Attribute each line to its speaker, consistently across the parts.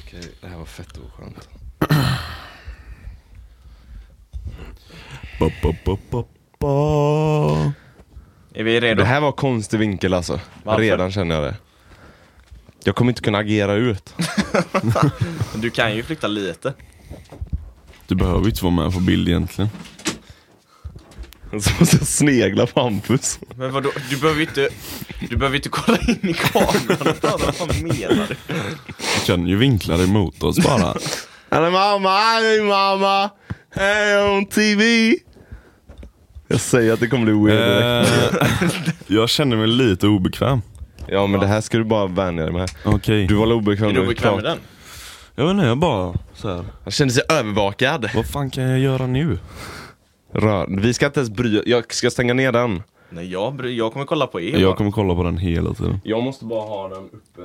Speaker 1: Okej, det här var fett oskönt.
Speaker 2: Ba, ba, ba, ba, ba.
Speaker 3: Är vi redo?
Speaker 1: Det här var konstig vinkel alltså.
Speaker 3: Varför?
Speaker 1: Redan känner jag det. Jag kommer inte kunna agera ut.
Speaker 3: Du kan ju flytta lite.
Speaker 2: Du behöver ju inte vara med på bild egentligen.
Speaker 1: Så måste jag snegla på Hampus.
Speaker 3: Men vadå? Du behöver ju inte, du behöver ju inte kolla in i kameran. Vad fan menar du?
Speaker 2: Du kan ju vinkla dig mot oss bara.
Speaker 1: Eller mamma, hej mamma! Hej on TV! Jag säger att det kommer bli weird direkt.
Speaker 2: Eh, jag känner mig lite obekväm.
Speaker 1: Ja men det här ska du bara vänja dig med.
Speaker 2: Okej.
Speaker 1: Du var väl obekväm
Speaker 3: Är
Speaker 1: när
Speaker 3: du
Speaker 1: vi
Speaker 3: obekväm med
Speaker 1: pratade?
Speaker 3: den?
Speaker 2: Jag vet inte, jag bara så här.
Speaker 1: Jag kände sig övervakad.
Speaker 2: Vad fan kan jag göra nu?
Speaker 1: Rör. Vi ska inte ens bry Jag ska stänga ner den.
Speaker 3: Nej, jag, bry- jag kommer kolla på er.
Speaker 2: Jag
Speaker 3: Jag
Speaker 2: kommer kolla på den hela tiden.
Speaker 1: Jag måste bara ha den uppe.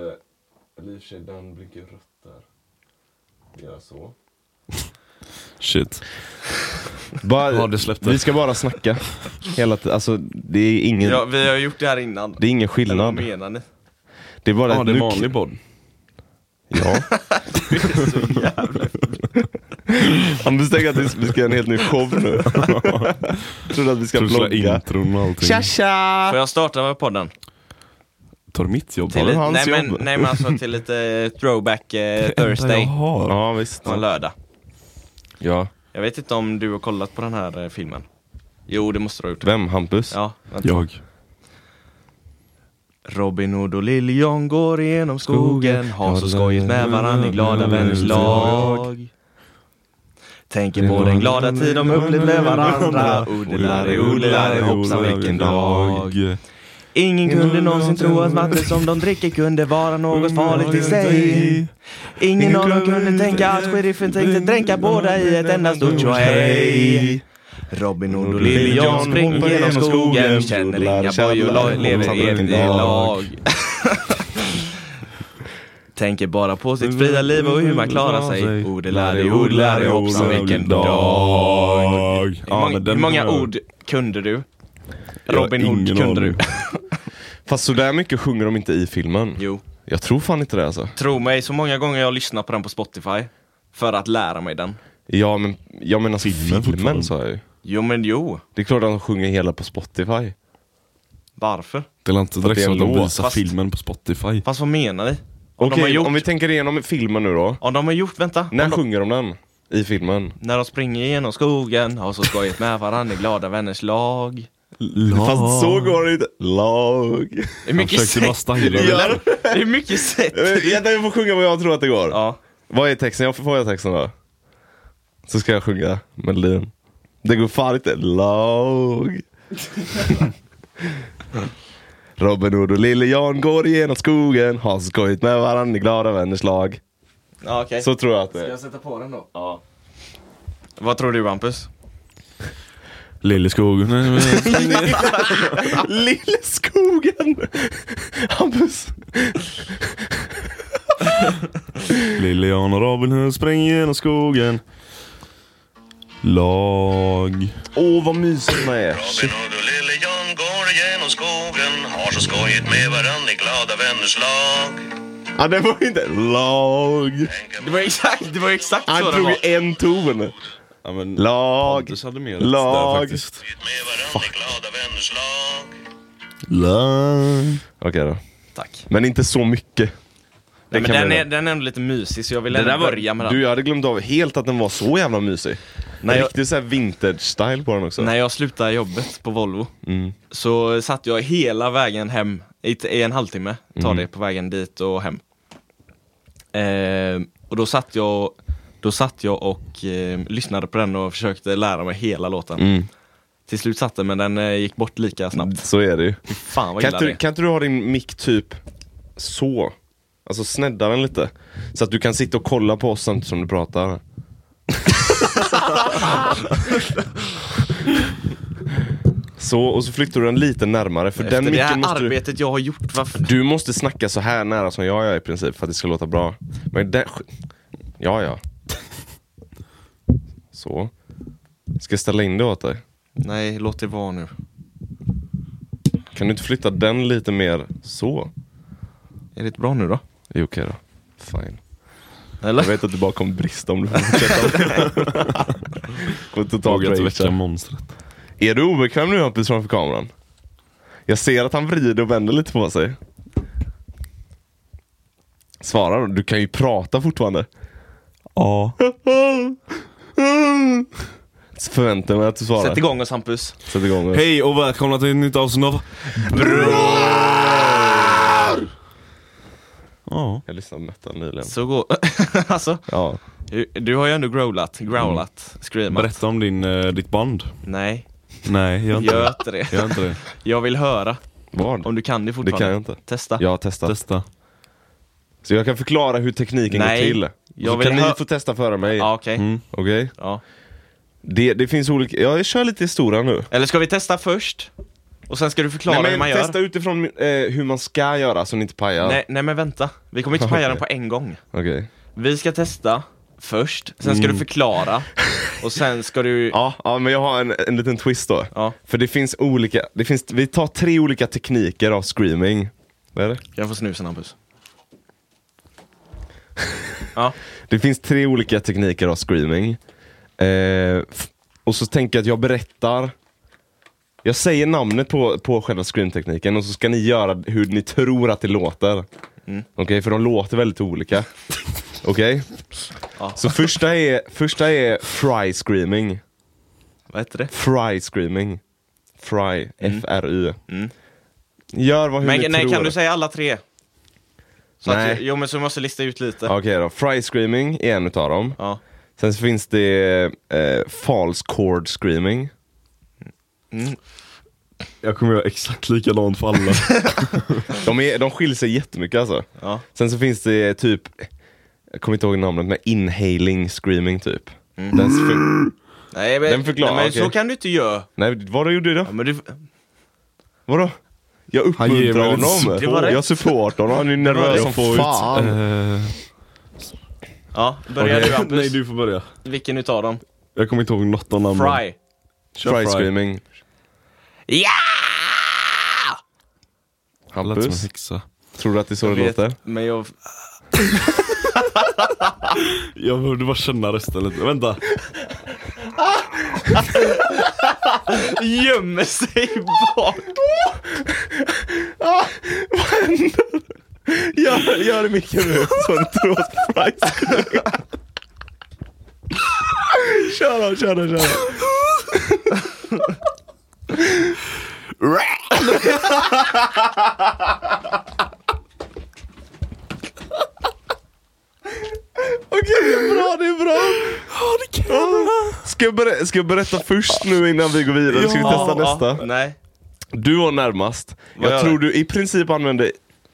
Speaker 1: Eller i och för sig, den blinkar rött där. Gör så.
Speaker 2: Shit. Ja,
Speaker 1: Bara,
Speaker 2: det släppte.
Speaker 1: vi ska bara snacka. Hela tiden. Alltså det är ingen,
Speaker 3: Ja, vi har ju gjort det här innan.
Speaker 1: det är ingen
Speaker 3: Eller vad
Speaker 1: skillnad.
Speaker 3: menar ni?
Speaker 1: Det är bara
Speaker 2: Ja,
Speaker 1: att
Speaker 2: det är
Speaker 1: nu-
Speaker 2: en vanlig podd.
Speaker 1: Ja. Anders tänker att vi ska göra en helt ny show nu. Trodde att vi ska
Speaker 2: Trussla
Speaker 1: vlogga.
Speaker 2: intron och allting.
Speaker 1: tja!
Speaker 3: Får jag starta med podden?
Speaker 2: Tar du mitt jobb?
Speaker 3: Till
Speaker 1: väl
Speaker 3: lite-
Speaker 1: hans
Speaker 3: nej, men,
Speaker 1: jobb.
Speaker 3: nej men alltså till lite throwback eh, Thursday
Speaker 2: Jag har.
Speaker 1: Ja visst.
Speaker 3: på en lördag.
Speaker 1: Ja.
Speaker 3: Jag vet inte om du har kollat på den här eh, filmen? Jo det måste du ha gjort.
Speaker 1: Vem? Hampus?
Speaker 3: Ja, vänta.
Speaker 2: Jag.
Speaker 3: Robin Hood och Liljon går igenom skogen Har så skojigt med varann i glada vänners lag Tänker på den glada tid de upplevt med varandra Odelare, odelare, hoppsan vilken dag Ingen kunde någonsin tro att vatten som de dricker kunde vara något farligt i sig Ingen av dem kunde tänka att sheriffen tänkte dränka båda i ett enda stort tjohej Robin Hood och Liljon springer genom skogen Känner inga bojor, lever evigt i lag Tänker bara på sitt fria liv och hur man klarar sig Oh, Odelari, odelari, hoppsan vilken dag Hur
Speaker 2: Ja,
Speaker 3: många,
Speaker 2: men den
Speaker 3: hur många
Speaker 2: har jag.
Speaker 3: ord kunde du?
Speaker 2: Jag har
Speaker 3: Robin Hood
Speaker 2: ingen
Speaker 3: kunde
Speaker 2: aning.
Speaker 3: du?
Speaker 1: Fast sådär mycket sjunger de inte i filmen.
Speaker 3: Jo,
Speaker 1: Jag tror fan inte det alltså.
Speaker 3: tro mig, så många gånger jag har lyssnat på den på Spotify För att lära mig den
Speaker 1: Ja men, ja, men alltså filmen,
Speaker 2: Filmen fortfarande.
Speaker 1: sa jag ju.
Speaker 3: Jo men jo,
Speaker 1: Det är klart att de sjunger hela på Spotify.
Speaker 3: varför?
Speaker 2: Det är inte direkt
Speaker 1: det är
Speaker 2: som att
Speaker 1: en
Speaker 2: de
Speaker 1: låt,
Speaker 2: visar
Speaker 3: fast-
Speaker 2: filmen på Spotify.
Speaker 3: Fast vad menar ni? Om de har
Speaker 1: Okej,
Speaker 3: gjort,
Speaker 1: om vi tänker igenom filmen nu då.
Speaker 3: om de har gjort vänta
Speaker 1: När
Speaker 3: om de,
Speaker 1: sjunger de den? I filmen?
Speaker 3: När de springer genom skogen, har så skojigt med varandra i glada vänners lag
Speaker 2: Lag.
Speaker 1: Fast så går det inte. Lag.
Speaker 3: Det är mycket
Speaker 2: försökte bara
Speaker 3: sätt
Speaker 2: styla det.
Speaker 3: Eller? Det är mycket sätt
Speaker 1: Jag, jag får sjunga vad jag tror att det går.
Speaker 3: Ja,
Speaker 1: Vad är texten? Jag får, får jag texten då? Så ska jag sjunga melodin. Det går fan inte lag. Robin Hood och Lille Jan går igenom skogen, har så skojigt med varandra i glada vänners lag.
Speaker 3: ja okej
Speaker 1: Så tror jag att det är.
Speaker 3: sätta på den då? Ja Vad tror du Hampus?
Speaker 2: Lilleskogen.
Speaker 1: Lille skogen! Hampus!
Speaker 2: Lille Jan och Robin Hood springer genom skogen. Lag.
Speaker 1: Åh vad mysigt man är. Shit.
Speaker 4: Robin Hood och Lille John går genom skogen Har så skojigt med varann i glada vänners lag
Speaker 1: Ja, det var inte lag.
Speaker 3: Det var exakt, det var exakt
Speaker 1: Han
Speaker 3: så det
Speaker 1: drog
Speaker 3: var
Speaker 1: en ton.
Speaker 2: Ja, men
Speaker 1: Lag.
Speaker 2: hade mer
Speaker 1: Lag.
Speaker 4: Med varann i glada vänners lag
Speaker 2: Lag.
Speaker 1: Okej då.
Speaker 3: Tack
Speaker 1: Men inte så mycket.
Speaker 3: Nej, men
Speaker 1: kan
Speaker 3: den,
Speaker 1: vi
Speaker 3: är,
Speaker 1: göra.
Speaker 3: den är ändå lite mysig så jag vill ändå börja med den.
Speaker 1: Du, jag hade glömt av helt att den var så jävla mysig. Nej,
Speaker 3: jag-
Speaker 1: Riktigt såhär vintage-style på den också.
Speaker 3: När jag slutade jobbet på Volvo
Speaker 1: Mm.
Speaker 3: så satt jag hela vägen hem i, t- i en halvtimme.
Speaker 1: Mm.
Speaker 3: Ta det på vägen dit och hem. Eh, och då satt jag, då satt jag och eh, lyssnade på den och försökte lära mig hela låten.
Speaker 1: Mm.
Speaker 3: Till slut satt den men den eh, gick bort lika snabbt.
Speaker 1: Så är det ju.
Speaker 3: Fan vad
Speaker 1: Mm. Kan
Speaker 3: illa
Speaker 1: inte,
Speaker 3: det
Speaker 1: du-
Speaker 3: är.
Speaker 1: kan inte du ha din mick typ så? Alltså snedda den lite. Så att du kan sitta och kolla på oss samtidigt som du pratar. så, och så flyttar du den lite närmare. För
Speaker 3: Efter
Speaker 1: den
Speaker 3: det
Speaker 1: micken
Speaker 3: här
Speaker 1: måste du...
Speaker 3: arbetet jag har gjort, varför?
Speaker 1: Du måste snacka så här nära som jag gör i princip för att det ska låta bra. Men den... Ja, ja. Så. Ska jag ställa in det åt dig?
Speaker 3: Nej, låt det vara nu.
Speaker 1: Kan du inte flytta den lite mer så?
Speaker 3: Är det bra nu då?
Speaker 1: Jo, okej då. Fine. Jag
Speaker 3: Eller?
Speaker 1: vet att du bara kommer brista om du fortsätter. kommer totalt
Speaker 2: Vågat väcka
Speaker 1: ragea.
Speaker 2: monstret.
Speaker 1: Är du obekväm nu Hampus framför kameran? Jag ser att han vrider och vänder lite på sig. Svara då, du kan ju prata fortfarande.
Speaker 2: Ja.
Speaker 1: Så förväntar jag mig att du svarar.
Speaker 3: Sätt igång oss Hampus.
Speaker 1: Sätt igång.
Speaker 2: Hej och välkomna till ett nytt avsnitt av... Ja.
Speaker 1: Jag lyssnade på metal nyligen.
Speaker 3: Så går... alltså,
Speaker 1: Ja.
Speaker 3: du har ju ändå growlat,
Speaker 1: Mm.
Speaker 3: growlat, screamat.
Speaker 2: Berätta om din, eh, ditt band.
Speaker 3: Nej,
Speaker 2: Nej, gör inte
Speaker 3: gör
Speaker 2: det.
Speaker 3: inte det.
Speaker 2: Gör inte det.
Speaker 3: Jag vill höra
Speaker 1: Vad?
Speaker 3: om du kan det fortfarande.
Speaker 1: jag inte.
Speaker 3: Testa.
Speaker 1: Jag har testat.
Speaker 2: Testa.
Speaker 1: Så jag kan förklara hur tekniken
Speaker 3: Nej.
Speaker 1: går till.
Speaker 3: Jag
Speaker 1: så
Speaker 3: vill
Speaker 1: kan
Speaker 3: hö-
Speaker 1: ni få testa före mig.
Speaker 3: Ja, okej.
Speaker 2: Mm.
Speaker 1: Okej?
Speaker 3: Ja.
Speaker 1: Det, det finns olika, ja, jag kör lite historia nu.
Speaker 3: Eller ska vi testa först? Och sen ska du förklara
Speaker 1: Nej,
Speaker 3: hur
Speaker 1: men
Speaker 3: man
Speaker 1: testa
Speaker 3: gör.
Speaker 1: utifrån eh, hur man ska göra så ni inte pajar.
Speaker 3: Nej, nej men vänta, vi kommer inte paja den på en gång.
Speaker 1: Okej.
Speaker 3: Vi ska testa först, sen ska du förklara och sen ska du...
Speaker 1: Mm. Ja, ja, men jag har en, en liten twist då.
Speaker 3: Ja.
Speaker 1: För det finns olika, det finns, vi tar tre olika tekniker av screaming. Vad är det?
Speaker 3: Jag får snusen Hampus. Ja,
Speaker 1: Det finns tre olika tekniker av screaming. Eh, f- och så tänker jag att jag berättar jag säger namnet på, på själva screamtekniken och så ska ni göra hur ni tror att det låter.
Speaker 3: Mm.
Speaker 1: Okej, för de låter väldigt olika. Okej?
Speaker 3: Ja.
Speaker 1: Så första är, första är fry screaming.
Speaker 3: vad heter det?
Speaker 1: Fry screaming. Fry, F-R-Y. Gör vad hur ni
Speaker 3: Mm. Men nej,
Speaker 1: tror.
Speaker 3: kan du säga alla tre? Så
Speaker 1: Nej.
Speaker 3: Att, jo men så måste jag lista ut lite.
Speaker 1: Okej då, fry screaming är en utav dem.
Speaker 3: Ja.
Speaker 1: Sen så finns det eh, false chord screaming.
Speaker 2: Jag kommer göra exakt likadant för alla.
Speaker 1: De, är, de skiljer sig jättemycket alltså.
Speaker 3: Ja.
Speaker 1: Sen så finns det typ, jag kommer inte ihåg namnet, men inhaling screaming typ.
Speaker 3: Mm.
Speaker 1: Den för,
Speaker 3: Nej men,
Speaker 1: Den förklarar,
Speaker 3: nej, men
Speaker 1: okej.
Speaker 3: så kan du inte göra.
Speaker 1: nej, vadå gjorde jag då?
Speaker 3: Ja, men du,
Speaker 1: Vadå? Jag
Speaker 2: Han ger
Speaker 1: uppmuntrar
Speaker 2: mig lite
Speaker 1: honom.
Speaker 3: support. Det var rätt.
Speaker 1: Jag supportar honom. Han är nervös som
Speaker 2: Eh,
Speaker 1: fan.
Speaker 3: ja, börjar
Speaker 1: Okej.
Speaker 3: du Hampus.
Speaker 2: Nej, du får börja.
Speaker 3: Vilken utav dem?
Speaker 2: Jag kommer inte ihåg något av namnen.
Speaker 3: Fry.
Speaker 2: Kör
Speaker 1: Fry screaming.
Speaker 3: Ja!
Speaker 2: Det lät som en
Speaker 1: Hampus,
Speaker 2: häxa.
Speaker 1: tror du att det är så det låter?
Speaker 3: men jag...
Speaker 2: Jag borde bara känna rösten lite. Vänta.
Speaker 3: Gömmer sig bak!
Speaker 1: Gör, gör det mycket nu så du tror att fry screaming. Kör då, kör då, kör då. Okej, det är bra, det är bra. Ska jag, berä- ska jag berätta först nu innan vi går vidare? Ska vi testa nästa?
Speaker 3: Nej.
Speaker 1: Du var närmast.
Speaker 3: Vad
Speaker 1: Jag
Speaker 3: gör
Speaker 1: tror du i princip använde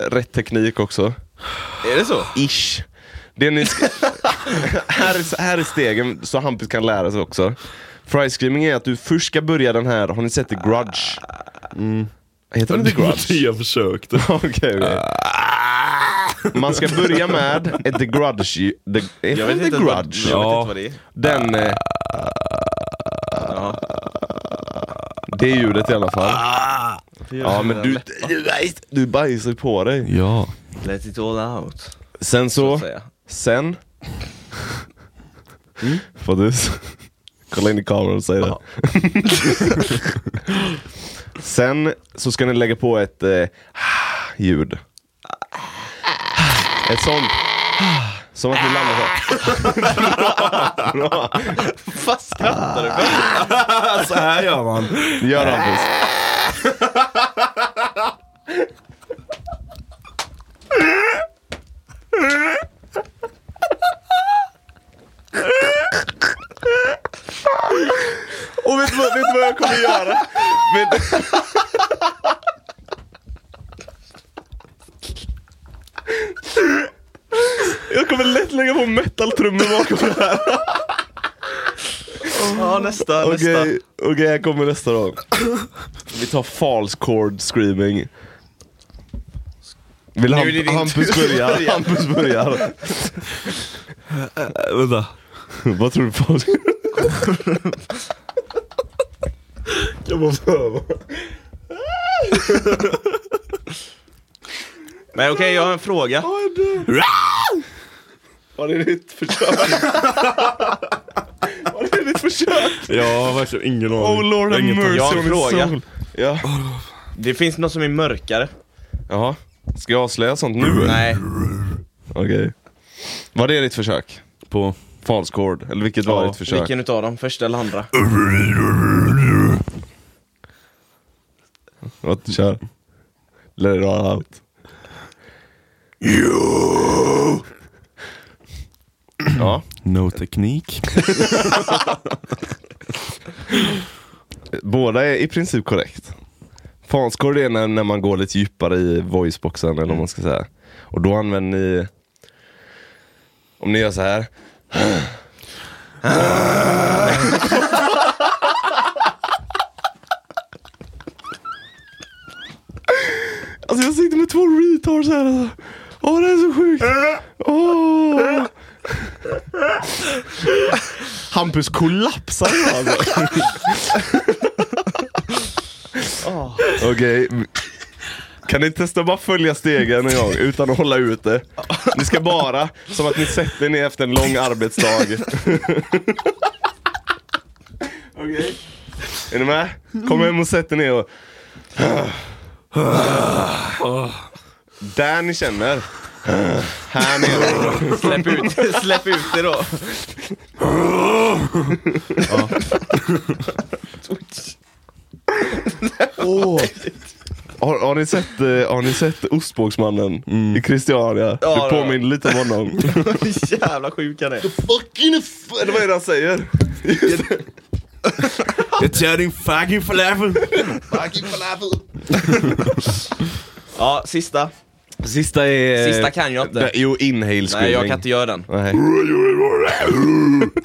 Speaker 1: rätt teknik också.
Speaker 3: Är det så?
Speaker 1: Ish. Det ni ska- här, är, här är stegen så Hampus kan lära sig också. Fry screaming är att du först ska börja den här, har ni sett The Grudge?
Speaker 3: Mm.
Speaker 1: Heter den The
Speaker 2: Det var det
Speaker 1: Grudge?
Speaker 2: jag försökte.
Speaker 1: Okej, okej. Ah. Man ska börja med ett The Grudge. The, är
Speaker 3: Jag
Speaker 1: det
Speaker 3: vet,
Speaker 1: The
Speaker 3: inte, vad, jag vet
Speaker 1: Grudge?
Speaker 3: inte
Speaker 2: Ja.
Speaker 3: vad det är.
Speaker 1: Den... Eh, det är ljudet i alla
Speaker 3: Ah,
Speaker 1: fall. Ja men du, du bajsar ju på dig.
Speaker 2: Ja.
Speaker 3: Let it all out,
Speaker 1: Sen
Speaker 3: så
Speaker 1: så,
Speaker 3: att säga.
Speaker 1: sen... Får du... s- Kolla in i kameran och säg det. sen så ska ni lägga på ett eh, ljud. Ett sånt... Ah. Som att ni landar så.
Speaker 3: Vad skrattar du för?
Speaker 2: Så här gör man.
Speaker 1: Gör Hampus. Och vet du, vad- vet du vad jag kommer göra? Vet du... Jag kommer lätt lägga på metal-trummor bakom det här.
Speaker 3: Ja, nästa,
Speaker 1: Okej,
Speaker 3: nästa.
Speaker 1: okej, här kommer nästa då. Vi tar false chord screaming. Vill
Speaker 3: är det
Speaker 1: Hamp-
Speaker 3: din
Speaker 1: Hampus börjar? Hampus börjar.
Speaker 2: Äh, vänta.
Speaker 1: Vad tror du false
Speaker 2: Jag måste öva.
Speaker 3: Men okej, jag har en fråga.
Speaker 1: Var det ditt försök? Var det ditt försök?
Speaker 2: Jag har verkligen ingen aning.
Speaker 1: Oh lord
Speaker 2: Jag har
Speaker 1: have
Speaker 2: ingen
Speaker 1: mercy
Speaker 2: tanke.
Speaker 3: Jag har en
Speaker 1: on his
Speaker 3: fråga.
Speaker 1: soul. Ja.
Speaker 3: Det finns något som är mörkare.
Speaker 1: Jaha. Ska jag avslöja sånt nu?
Speaker 3: Nej.
Speaker 1: Okej. Var det ditt försök?
Speaker 2: På.
Speaker 1: False chord, eller vilket var ditt försök?
Speaker 3: Vilken utav dem? Första eller andra?
Speaker 1: Vad, kör. Let it all out. Ja,
Speaker 2: No teknik.
Speaker 1: båda är i princip korrekt. False chord är när, när man går lite djupare i voiceboxen eller vad man ska säga. Och då använder ni, om ni gör så här. Alltså jag sitter med två retards här alltså. Åh det är så sjukt. Åh. Hampus kollapsar nu alltså. Okej. Kan ni testa att bara följa stegen en gång utan att hålla ut det? Ni ska bara, som att ni sätter er ner efter en lång arbetsdag. Okej. Är ni med? Kom hem och sätt er ner och... Där ni känner. Här nere.
Speaker 3: Släpp ut, släpp ut det då.
Speaker 1: Har, har, ni sett, eh, har ni sett Ostbågsmannen i Christiania?
Speaker 3: Ja,
Speaker 1: Mm. det
Speaker 3: ja.
Speaker 1: påminner lite om honom.
Speaker 3: Jävla sjuk han är.
Speaker 1: Fucking f- Eller vad är det han säger?
Speaker 2: Jag kör din fucking falafel.
Speaker 3: Ja, sista.
Speaker 1: Sista är...
Speaker 3: Sista kan jag inte.
Speaker 1: Där- Jo, inhale screaming.
Speaker 3: Nej, jag kan inte göra den.
Speaker 1: Nej.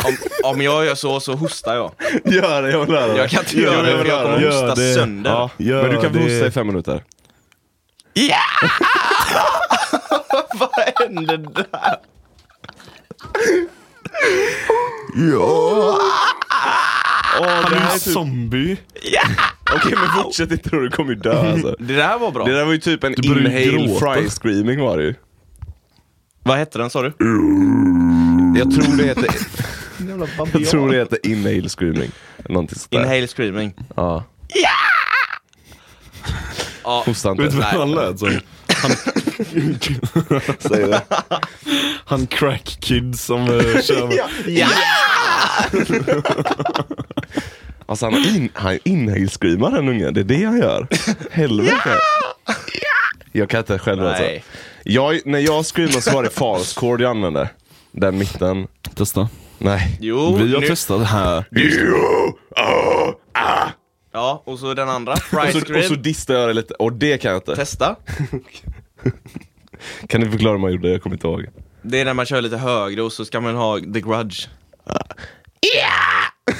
Speaker 3: Om, om jag gör så, så hostar jag.
Speaker 1: Gör det, jag vill höra
Speaker 3: Jag kan inte göra det, för jag kommer
Speaker 2: Gör
Speaker 3: hosta
Speaker 2: det.
Speaker 3: sönder.
Speaker 1: Ja,
Speaker 2: Gör
Speaker 1: men du kan få
Speaker 2: det.
Speaker 1: hosta i fem minuter.
Speaker 3: Ja! Vad hände där?
Speaker 2: Han
Speaker 1: det
Speaker 2: är
Speaker 1: här är
Speaker 2: en
Speaker 1: typ-
Speaker 2: zombie.
Speaker 1: Okej, men fortsätt inte då, du kommer ju dö alltså.
Speaker 3: Det där var bra.
Speaker 1: Det där var ju typ en
Speaker 2: börjar ju
Speaker 1: inhale
Speaker 2: gråta.
Speaker 1: fry screaming var det ju.
Speaker 3: Vad hette den sa du?
Speaker 1: Mm. Jag tror det heter, jag tror det heter inhale screaming. Eller Någonting sånt där.
Speaker 3: Inhale screaming.
Speaker 1: Ja.
Speaker 3: Ja,
Speaker 1: Hosta
Speaker 2: Vet du
Speaker 1: inte.
Speaker 2: vad han lät som? Han,
Speaker 1: Säg det.
Speaker 2: han crack kid som eh, kör med.
Speaker 1: Alltså han, har in, han inhale screamar den ungen, det är det han gör. Helvete. Jag kan inte själv alltså.
Speaker 3: Nej.
Speaker 1: Jag, när jag screamade så var det false chord jag använde. Den mitten.
Speaker 2: Testa.
Speaker 1: Nej.
Speaker 3: Jo,
Speaker 2: Vi har
Speaker 3: nu-
Speaker 2: testat det här.
Speaker 3: Ja, och så den andra. Fry
Speaker 1: Ah! Och så, och så
Speaker 3: scream.
Speaker 1: distade jag det lite, och det kan jag inte.
Speaker 3: Testa.
Speaker 1: Kan du förklara hur man gjorde? Jag kommer inte ihåg.
Speaker 3: Det är när man kör lite högre och så ska man ha the grudge.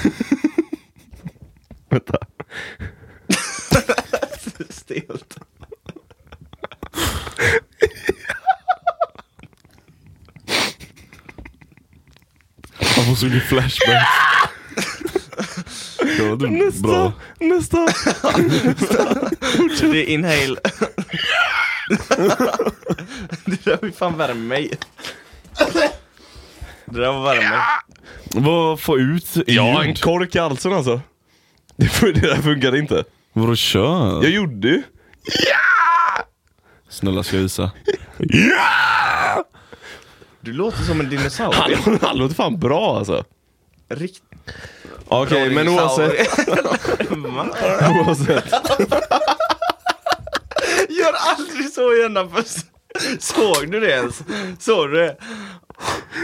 Speaker 1: Vänta.
Speaker 3: Stelt.
Speaker 2: Han får så mycket flashbacks. Det var typ bra.
Speaker 1: Nästa!
Speaker 3: Det är inhale. det där var fan värme mig. Det där var värme.
Speaker 2: Vad få ut i
Speaker 1: Ja, en
Speaker 2: ljud?
Speaker 1: kork i halsen alltså. Det, fun- det där funkade inte.
Speaker 2: Vadå kör?
Speaker 1: Jag gjorde ju.
Speaker 2: Snälla ska jag visa?
Speaker 3: Du låter som en dinosaurie.
Speaker 1: Han, han låter fan bra alltså.
Speaker 3: Rikt-
Speaker 1: Okej, men
Speaker 3: dinosaurie.
Speaker 1: oavsett. oavsett.
Speaker 3: Gör aldrig så igen Hampus. Såg du det ens? Såg du det?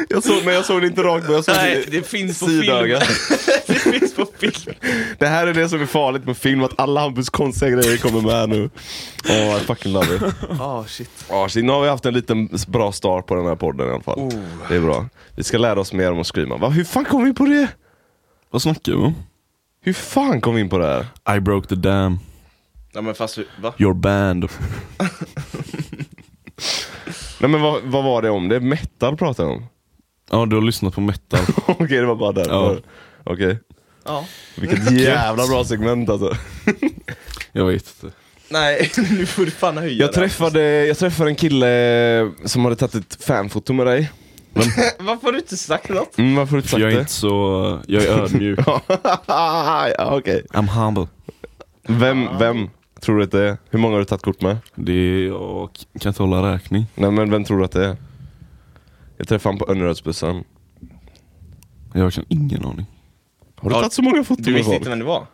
Speaker 1: Jag såg, men jag såg det inte rakt, men jag såg
Speaker 3: Nej,
Speaker 1: det.
Speaker 3: det finns på film.
Speaker 1: Sidöga.
Speaker 3: det finns på film.
Speaker 1: Det här är det som är farligt med film, att alla Hampus konstiga grejer kommer med nu. Åh, I fucking love it.
Speaker 3: Ah shit.
Speaker 1: Ja, shit, nu har vi haft en liten s- bra start på den här podden i alla fall.
Speaker 3: Oh.
Speaker 1: Det är bra. Vi ska lära oss mer om att screama. Va, hur fan kom vi på det?
Speaker 2: Vad snackar du om?
Speaker 1: Hur fan kom vi in på det här?
Speaker 2: I broke the dam.
Speaker 3: Ja men fast hur- va?
Speaker 2: Your band.
Speaker 1: Nej men vad, vad var det om? Det är metal pratade jag om.
Speaker 2: Ja, du har lyssnat på metal.
Speaker 1: Okej, det var bara därför.
Speaker 2: Ja.
Speaker 1: Okej.
Speaker 3: Ja.
Speaker 1: Vilket jävla bra segment alltså.
Speaker 2: Jag vet inte.
Speaker 3: Nej, nu får du fan höja
Speaker 1: Jag träffade, jag träffade en kille som hade tagit ett fanfoto med dig.
Speaker 3: Varför har Eh, du inte sagt något?
Speaker 1: Mm, varför har du inte sagt
Speaker 2: Jag är
Speaker 1: det?
Speaker 2: inte så... Jag är ödmjuk.
Speaker 1: ja, okej.
Speaker 2: I'm humble.
Speaker 1: Vem, vem tror du att det är? Hur många har du tagit kort med?
Speaker 2: Det är... Jag kan inte hålla räkning.
Speaker 1: Nej men vem tror du att det är? Jag träffade han på Önnerödsbussen.
Speaker 2: Jag kan ingen aning.
Speaker 1: Har du
Speaker 3: Ja,
Speaker 1: tagit så många foton
Speaker 3: Du
Speaker 1: med
Speaker 3: visste
Speaker 1: folk?
Speaker 3: inte vem det var?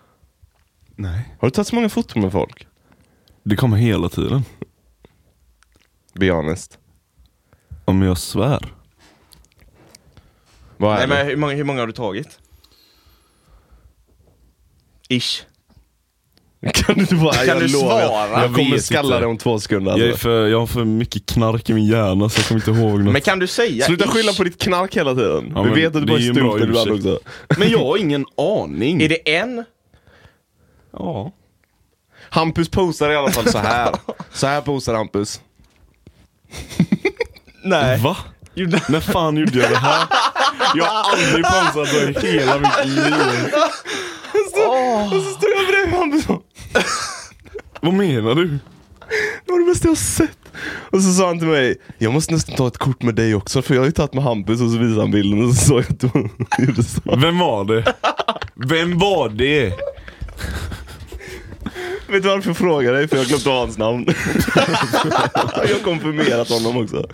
Speaker 2: Nej.
Speaker 1: Har du tagit så många foton med folk?
Speaker 2: Det kommer hela tiden.
Speaker 1: Be honest.
Speaker 2: Om jag svär.
Speaker 1: Vad är
Speaker 3: Nej men
Speaker 1: det?
Speaker 3: hur många, hur många har du tagit? Ish.
Speaker 1: Kan du inte bara...
Speaker 3: Kan
Speaker 1: jag
Speaker 3: du
Speaker 1: lovar,
Speaker 3: svara?
Speaker 1: Jag kommer
Speaker 2: vet
Speaker 1: skalla
Speaker 2: inte.
Speaker 1: dig om två sekunder
Speaker 2: Jag, är
Speaker 1: alltså.
Speaker 2: för, jag har för mycket knark i min hjärna så jag kommer inte ihåg något.
Speaker 3: Men kan du säga
Speaker 1: Sluta
Speaker 3: ish?
Speaker 1: skylla på ditt knark hela tiden.
Speaker 2: Ja,
Speaker 1: Vi
Speaker 2: men
Speaker 1: vet att du
Speaker 2: det
Speaker 1: bara
Speaker 2: är
Speaker 1: är
Speaker 2: ju en bra
Speaker 1: stumt ibland också.
Speaker 2: ursäkt. Men jag har ingen aning.
Speaker 3: Är det en?
Speaker 2: Ja.
Speaker 1: Hampus posar i alla fall så här. så här posar Hampus.
Speaker 3: Nej.
Speaker 2: Va? När fan gjorde jag det här? Jag har aldrig pansat så i hela mitt liv.
Speaker 1: Står jag bredvid Hampus och
Speaker 2: Vad menar du?
Speaker 1: Det var det bästa jag har sett. Och så sa han till mig, jag måste nästan ta ett kort med dig också för jag har ju tagit med Hampus och så visade han bilden och så sa jag att du gjorde så.
Speaker 2: Vem var det? Vem var det?
Speaker 1: Vet du varför jag frågar dig? För jag har glömt av hans namn. jag har konfirmerat honom också.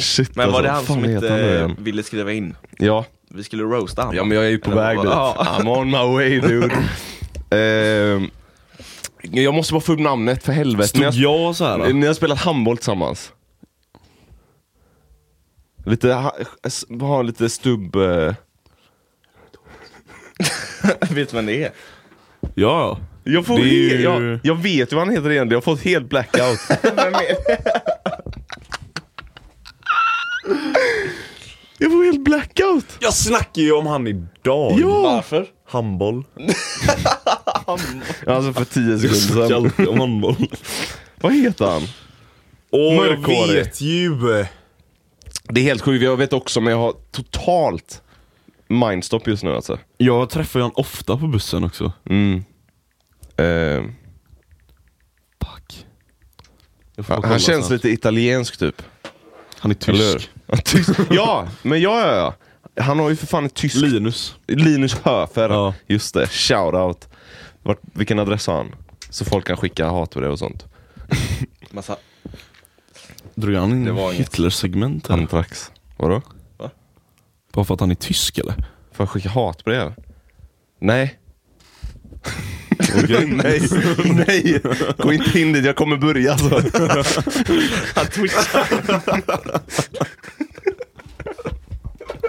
Speaker 1: shit.
Speaker 3: Ah, Men var det han
Speaker 1: alltså.
Speaker 3: som
Speaker 1: Fan, heter han det
Speaker 3: inte
Speaker 1: igen?
Speaker 3: ville skriva in?
Speaker 1: Ja.
Speaker 3: Vi skulle roasta han.
Speaker 1: ja, men jag är ju på
Speaker 3: Eller
Speaker 1: väg
Speaker 3: vad-
Speaker 1: dit.
Speaker 3: Ja.
Speaker 1: I'm on my way dude. Ehm, jag måste bara få upp namnet för helvete. Ni har-
Speaker 2: Stod jag Mm. så här? då?
Speaker 1: Ni har spelat handboll tillsammans? Lite, ha, s- ha lite stubb... eh.
Speaker 3: Vet du vem det är?
Speaker 2: Ja.
Speaker 1: Jag, får
Speaker 2: Det är
Speaker 1: he-
Speaker 2: ju-
Speaker 1: jag, jag vet ju vad han heter igen, jag har fått helt blackout.
Speaker 3: Vem är det?
Speaker 1: jag får helt blackout!
Speaker 2: Jag snackar ju om han idag.
Speaker 1: Ja!
Speaker 3: Varför?
Speaker 2: Handboll.
Speaker 1: Alltså för tio
Speaker 2: Jag
Speaker 1: sekunder
Speaker 2: snackar
Speaker 1: sedan.
Speaker 2: alltid om handboll.
Speaker 1: Vad heter han?
Speaker 2: Åh,
Speaker 1: Mörkhårig.
Speaker 2: jag vet ju.
Speaker 1: Det är helt sjukt, jag vet också men jag har totalt mindstop just nu alltså.
Speaker 2: Jag träffar ju han ofta på bussen också.
Speaker 1: Mm. Eh,
Speaker 2: Fuck. Jag får
Speaker 1: han
Speaker 2: kolla
Speaker 1: han känns
Speaker 2: sen.
Speaker 1: lite italiensk typ.
Speaker 2: Han är
Speaker 1: Eller hur?
Speaker 2: tysk.
Speaker 1: Ja, tysk. Ja, men ja, ja, ja. Han har ju för fan ett tyskt
Speaker 2: Linus.
Speaker 1: Linus Höfer,
Speaker 2: Ja.
Speaker 1: just det. Shoutout. Vart, vilken adress har han? Så folk kan skicka hatbrev och sånt.
Speaker 3: Massa...
Speaker 2: Drog han in
Speaker 3: Det var inget.
Speaker 2: Hitler-segment här?
Speaker 1: Antrax. Vadå?
Speaker 2: Bara för att han är tysk eller?
Speaker 1: Får jag skicka hatbrev? Nej. nej, nej. Gå inte in dit, jag kommer börja alltså.
Speaker 3: Han twitchar.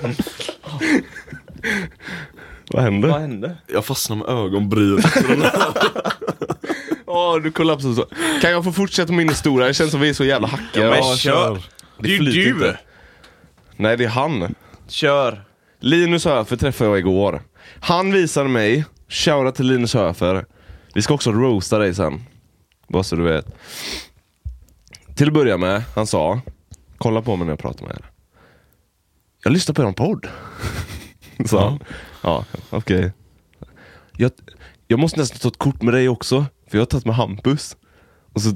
Speaker 1: Vad
Speaker 3: Vad
Speaker 1: händer?
Speaker 3: hände?
Speaker 2: Jag fastnar med ögonbrynen.
Speaker 1: Åh, du kollapsar så. Kan jag få fortsätta min historia? Det känns som vi är så jävla hackiga.
Speaker 3: Ja, men kör. Det är ju
Speaker 1: flyter
Speaker 3: du!
Speaker 1: inte. Nej, det är han.
Speaker 3: Kör!
Speaker 1: Linus Höfer träffade jag igår. Han visade mig, shoutout till Linus Höfer. Vi ska också roasta dig sen. Bara så du vet. Till att börja med, han sa, kolla på mig när jag pratar med er. Jag lyssnar på er podd. Sa han. Ja, okej. Jag, jag måste nästan ta ett kort med dig också, för jag har tagit med Hampus. Och så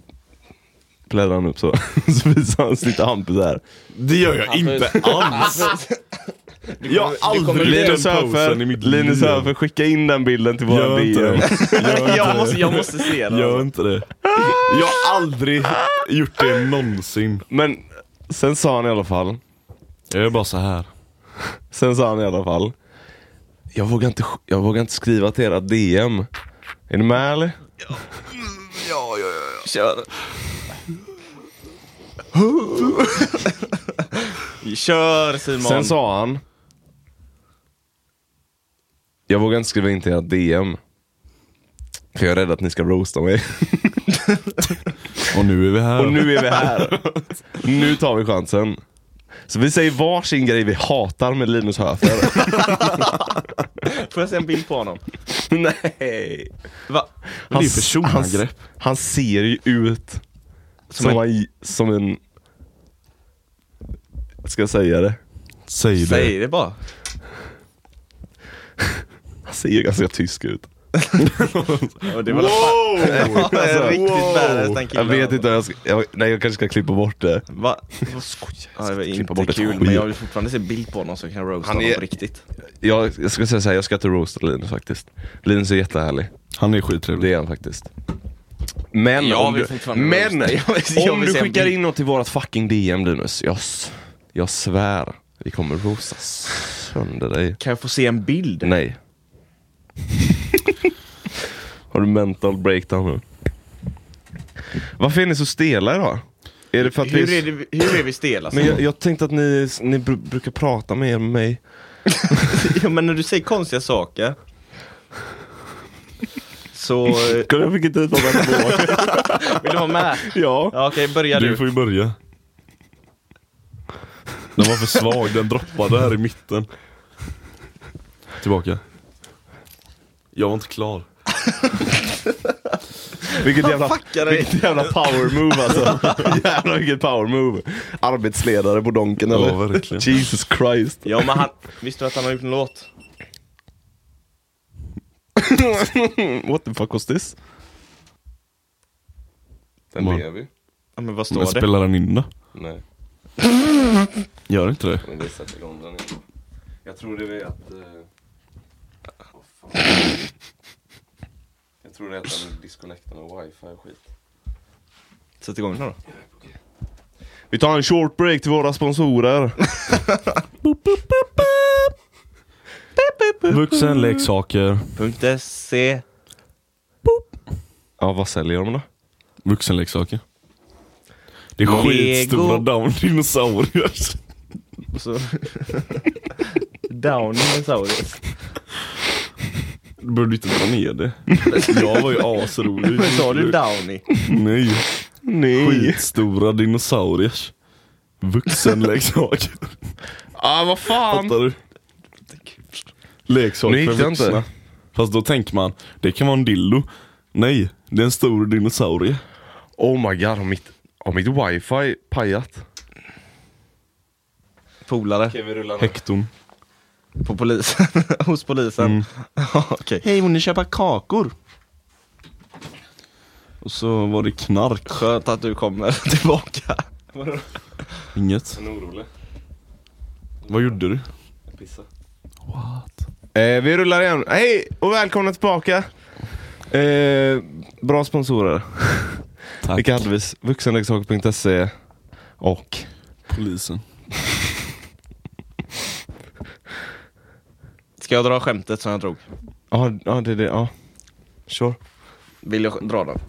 Speaker 1: bläddrar han upp så. så visar han sitt Hampus här.
Speaker 2: Det gör jag inte alls. Jag har aldrig
Speaker 1: Linus Höfer, Linus Höfer, skicka in den bilden till våra
Speaker 2: Gör inte
Speaker 1: DM.
Speaker 2: det.
Speaker 3: Jag måste, jag måste se den.
Speaker 2: Gör inte det. Jag har aldrig gjort det någonsin.
Speaker 1: Men sen sa han i alla fall,
Speaker 2: Jag är bara så här.
Speaker 1: sen sa han i alla fall. Jag vågar inte, sk- jag vågar inte skriva till era DM. Är ni med eller?
Speaker 3: Kör! Kör Simon!
Speaker 1: Sen sa han. Jag vågar inte skriva in till era DM. För jag är rädd att ni ska roasta mig.
Speaker 2: Och nu är vi här.
Speaker 1: Och nu är vi här. Nu tar vi chansen. Så vi säger varsin grej vi hatar med Linus Höfer.
Speaker 3: Får jag se en bild på honom?
Speaker 1: Nej.
Speaker 3: Va?
Speaker 2: det är ju
Speaker 1: s-
Speaker 2: personangrepp.
Speaker 1: han, han ser ju ut som,
Speaker 3: en-
Speaker 1: en... som en... Ska jag säga det?
Speaker 2: Säg det.
Speaker 3: Säg det bara.
Speaker 1: Han ser ju ganska tysk ut.
Speaker 3: Och det var wow!
Speaker 1: Alltså,
Speaker 3: riktigt
Speaker 1: wow.
Speaker 3: badass den killen.
Speaker 1: Jag vet inte, om jag ska, jag, nej jag kanske ska klippa bort det.
Speaker 3: Va? Ja, det
Speaker 1: klippa
Speaker 3: var inte
Speaker 1: bort ett
Speaker 3: kul,
Speaker 1: skit.
Speaker 3: men jag vill fortfarande se bild på honom så jag kan roasta
Speaker 1: Han
Speaker 3: honom
Speaker 1: är-
Speaker 3: på riktigt.
Speaker 1: Jag, jag ska säga så här, jag ska inte roasta Linus faktiskt. Linus är jättehärlig.
Speaker 2: Han är skittrevlig.
Speaker 1: Det är han faktiskt. Men
Speaker 3: Jag
Speaker 1: om
Speaker 3: vill
Speaker 1: du,
Speaker 3: fortfarande
Speaker 1: men,
Speaker 3: roasta. Jag vill- jag
Speaker 1: om
Speaker 3: vill
Speaker 1: du
Speaker 3: se en
Speaker 1: skickar
Speaker 3: bild.
Speaker 1: in något till vårat fucking DM Linus, jag, s- jag svär, vi kommer rosa sönder dig.
Speaker 3: Kan jag få se en bild?
Speaker 1: Nej. Har du mental breakdown nu? Varför är ni så stela idag? Är det för att vi...
Speaker 3: Hur är, det, hur är vi stela?
Speaker 1: Men
Speaker 3: Men,
Speaker 1: jag, jag tänkte att ni, ni br- brukar prata mer med mig.
Speaker 3: ja, men när du säger konstiga saker så... eh,
Speaker 1: Kolla jag fick inte ut vad
Speaker 3: Vill du vara med?
Speaker 1: Ja.
Speaker 3: Ja, Okej, börja
Speaker 2: Du
Speaker 3: du.
Speaker 2: får ju börja. Den var för svag, den droppade här i mitten. Tillbaka. Jag var inte klar.
Speaker 1: Vilket jävla,
Speaker 3: fuckar dig.
Speaker 1: vilket jävla power move alltså. Jävlar vilket power move. Arbetsledare på Donken eller?
Speaker 2: Ja, verkligen.
Speaker 1: Jesus Christ.
Speaker 3: Ja, men han... Visste du att han har gjort en låt?
Speaker 1: Mm, What the fuck was this? Den
Speaker 2: Man.
Speaker 1: lever ju.
Speaker 3: Ja, men vad står
Speaker 2: Men
Speaker 3: det?
Speaker 2: spelar den in då?
Speaker 1: Nej,
Speaker 2: Gör inte det?
Speaker 1: men vi sätter igång den igen. Jag tror det är att... eh, vad fan. Jag tror det är att den disconnectar med wifi och skit.
Speaker 3: Sätt igång den då.
Speaker 1: Vi tar en short break till våra sponsorer.
Speaker 2: Vuxenleksaker.
Speaker 3: Punkt .se
Speaker 1: Ja, vad säljer de då?
Speaker 2: Vuxenleksaker. Det är
Speaker 3: Lego.
Speaker 2: skitstora down dinosaurier.
Speaker 3: och så... Down dinosaurus.
Speaker 2: Du behövde inte dra ner det. Jag var ju asrolig.
Speaker 3: Men sa du Downy?
Speaker 2: Nej.
Speaker 1: Nej.
Speaker 2: Skitstora dinosaurier. Vuxenleksaker.
Speaker 1: Ah, vad fan.
Speaker 2: Fattar du? Leksak
Speaker 1: Nu gick
Speaker 2: för
Speaker 1: det inte.
Speaker 2: vuxna. Fast då tänker man, det kan vara en dildo. Nej, det är en stor dinosaurie.
Speaker 1: Oh my god, har mitt, har mitt wifi pajat?
Speaker 3: Polare.
Speaker 1: Okej, vi rullar
Speaker 2: Hekton.
Speaker 3: På polisen. Hos polisen. Okej.
Speaker 2: Hej, vill ni köpa kakor? Och så var det knark.
Speaker 3: Skönt att du kommer tillbaka.
Speaker 2: Inget.
Speaker 1: är orolig.
Speaker 2: Vad gjorde du?
Speaker 1: Eh, vi rullar igen. Hej och välkomna tillbaka. Eh, bra sponsorer.
Speaker 2: Tack.
Speaker 1: Vilka hade vi? Vuxenleksaker.se och
Speaker 2: Polisen.
Speaker 3: Ska jag dra skämtet som jag drog?
Speaker 1: Ja, ja det är det. Ja. Sure.
Speaker 3: Vill jag dra den?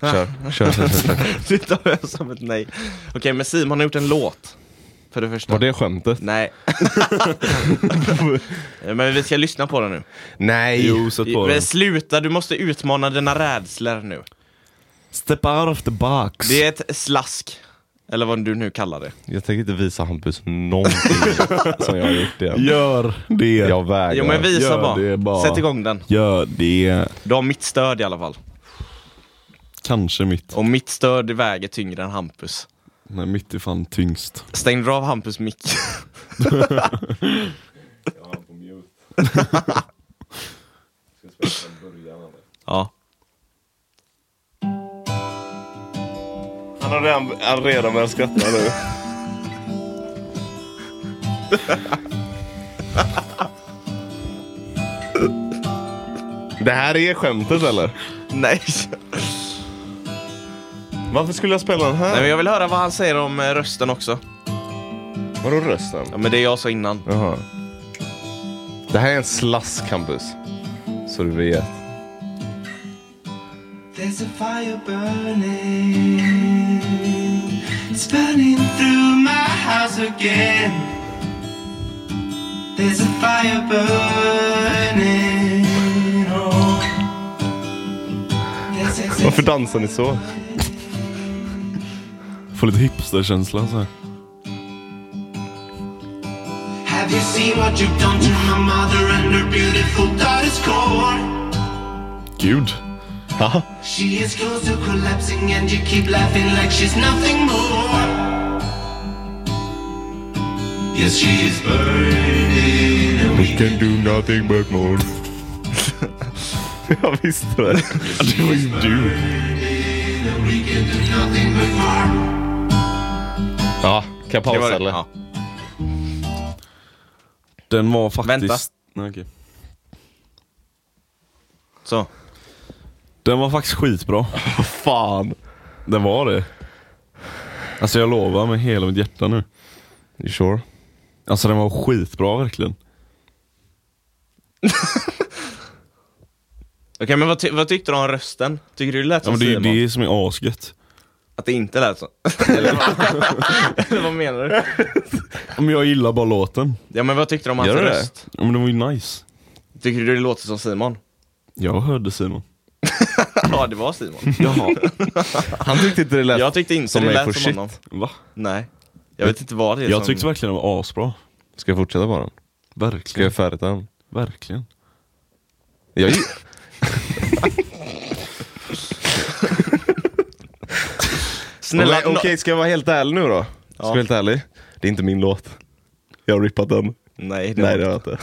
Speaker 1: Kör. Kör, kör, kör, kör.
Speaker 3: Det tar jag som ett nej. Okej, men Simon har gjort en låt. För det första.
Speaker 1: Var det skämtet?
Speaker 3: Nej. men vi ska lyssna på den nu.
Speaker 1: Nej!
Speaker 2: Jo, sätt på
Speaker 3: Men
Speaker 2: den.
Speaker 3: sluta, du måste utmana dina rädslor nu.
Speaker 2: Step out of the box.
Speaker 3: Det är ett slask. Eller vad du nu kallar det.
Speaker 1: Jag tänker inte visa Hampus någonting som jag har gjort igen.
Speaker 2: Gör det.
Speaker 1: Jag vägrar.
Speaker 3: Jo men visa
Speaker 2: gör
Speaker 3: bara.
Speaker 2: det bara.
Speaker 3: Sätt igång den.
Speaker 2: Gör det.
Speaker 3: Du har mitt stöd i alla fall.
Speaker 2: Kanske mitt.
Speaker 3: Och mitt stöd väger tyngre än Hampus.
Speaker 2: Nej, mitt är fan tyngst.
Speaker 3: Stängde du av Hampus mick? ja.
Speaker 1: Han har redan, han redan börjat skratta nu. Det här är skämtet eller?
Speaker 3: Nej.
Speaker 1: Varför skulle jag spela den
Speaker 3: Nej
Speaker 1: här?
Speaker 3: men jag vill höra vad han säger om eh, rösten också.
Speaker 1: Vadå rösten?
Speaker 3: Ja men det jag sa innan.
Speaker 1: Jaha. Det här är en slask Hampus. Så du vet.
Speaker 5: There's a fire burning. It's burning through my house again. There's a fire burning. Oh. There's a-
Speaker 1: Varför dansar ni så?
Speaker 2: Får lite hipsterkänsla så här.
Speaker 5: Have you seen what you've done to my mother and her beautiful daughter's core?
Speaker 2: Gud.
Speaker 5: She is close to collapsing, and you keep laughing like she's nothing more. Yes, she is burning. and we
Speaker 1: do nothing but mourn. Jag visste det.
Speaker 2: Det var ju du.
Speaker 5: We can do nothing but farm.
Speaker 1: Ja, kan jag
Speaker 3: Det var
Speaker 1: pausa
Speaker 3: det.
Speaker 1: eller?
Speaker 3: Ja.
Speaker 2: Den var faktiskt...
Speaker 3: Vänta.
Speaker 2: Nej, okej.
Speaker 3: Så.
Speaker 2: Den var faktiskt skitbra.
Speaker 1: Fan.
Speaker 2: Den var det. Alltså jag lovar med hela mitt hjärta nu.
Speaker 1: You sure?
Speaker 2: Alltså den var skitbra verkligen.
Speaker 3: Okej, men vad, ty- vad tyckte du om rösten? Tycker du det lät
Speaker 2: Ja,
Speaker 3: som
Speaker 2: men det är ju
Speaker 3: Simon?
Speaker 2: det som är asgött.
Speaker 3: Att det inte lät så? Eller, vad- eller vad menar du?
Speaker 2: Ja, Men jag gillar bara låten.
Speaker 3: Ja men vad tyckte du om hans
Speaker 1: Gör du det?
Speaker 3: röst?
Speaker 2: Ja, Men den var ju nice.
Speaker 3: Tycker du det låter som Simon?
Speaker 2: Jag hörde Simon.
Speaker 3: Ja, det var Simon.
Speaker 1: Jaha. Han tyckte inte det lät...
Speaker 3: Jag tyckte inte
Speaker 1: Som
Speaker 3: det
Speaker 1: mig
Speaker 3: lät
Speaker 1: for
Speaker 3: som
Speaker 1: shit.
Speaker 3: honom.
Speaker 2: Va?
Speaker 3: Nej. Jag vet inte vad det är
Speaker 2: Jag
Speaker 3: som...
Speaker 2: tyckte verkligen den var asbra.
Speaker 1: Ska jag fortsätta bara? Ska
Speaker 2: Verkligen.
Speaker 1: jag färdigt den?
Speaker 2: Verkligen.
Speaker 1: Jag... gi-
Speaker 3: Snälla,
Speaker 1: Okej, okej, ska jag vara helt ärlig nu då? Ska jag vara helt ärlig? Det är inte min låt. Jag har rippat den.
Speaker 3: Nej, det
Speaker 1: Nej
Speaker 3: Nej
Speaker 1: det
Speaker 3: var...
Speaker 1: har jag inte.